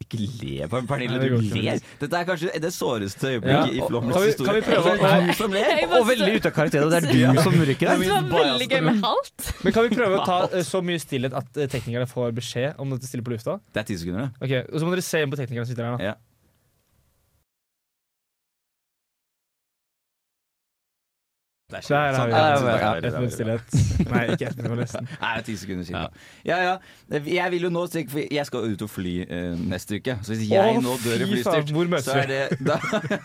Ikke le på meg,
Nei,
Pernille.
det går
Du
ikke.
ler. Dette er kanskje det såreste
Ja,
øyeblikket i
og-
Flåmens
kan vi-
historie.
kan vi prøve å-
Du som ler.
Jeg bare-
Og veldig ute av karakter, og det er du som rykker deg.
Det var veldig gøy med halt.
Men kan vi prøve å ta eh, så mye stillhet at eh, teknikerne får beskjed om dette stille på lufta?
Det er ti sekunder, det.
Ok, Og så må dere se inn på teknikerne som sitter her,
da. Der
Der er vi.
Sånn. Ja,
Ett minutt stillett. Nei, ikke ett minutt, nesten.
Nei, ti sekunder siden. Ja. ja Jeg vil jo nå stikke for Jeg skal ut og fly eh, neste uke. Så hvis
Å,
jeg nå dør i
fy faen,
flystyrt,
hvor møtes
så er
vi?
det da,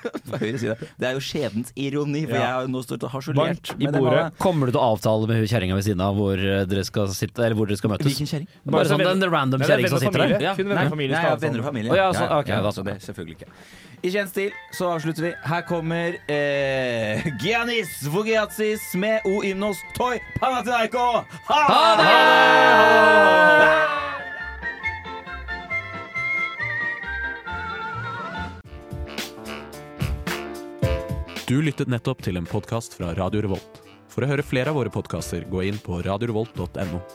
på høyre side. Det er jo skjebnens ironi, for
Ja.
jeg har jo nå stått og harsolert.
Varmt i
med det
bordet.
bare-
Kommer du til å avtale med hun kjerringa ved siden av hvor eh, dere skal sitte Eller hvor dere skal møtes?
Hvilken kjerring?
Bare sånn den random kjerringa som sitter der?
Ja. Nei, nei, ja, venner og familie.
Å, ja, sånn, ok,
Ja, ja,
da.
så det, selvfølgelig ikke. I kjent stil så avslutter vi. Her kommer eh, Giannis Vogiatsis med O Ymnos Toy Panathinaiko! Ha det! Du lyttet nettopp til en podkast fra Radio Revolt. For å høre flere av våre podkaster, gå inn på radiorevolt.no.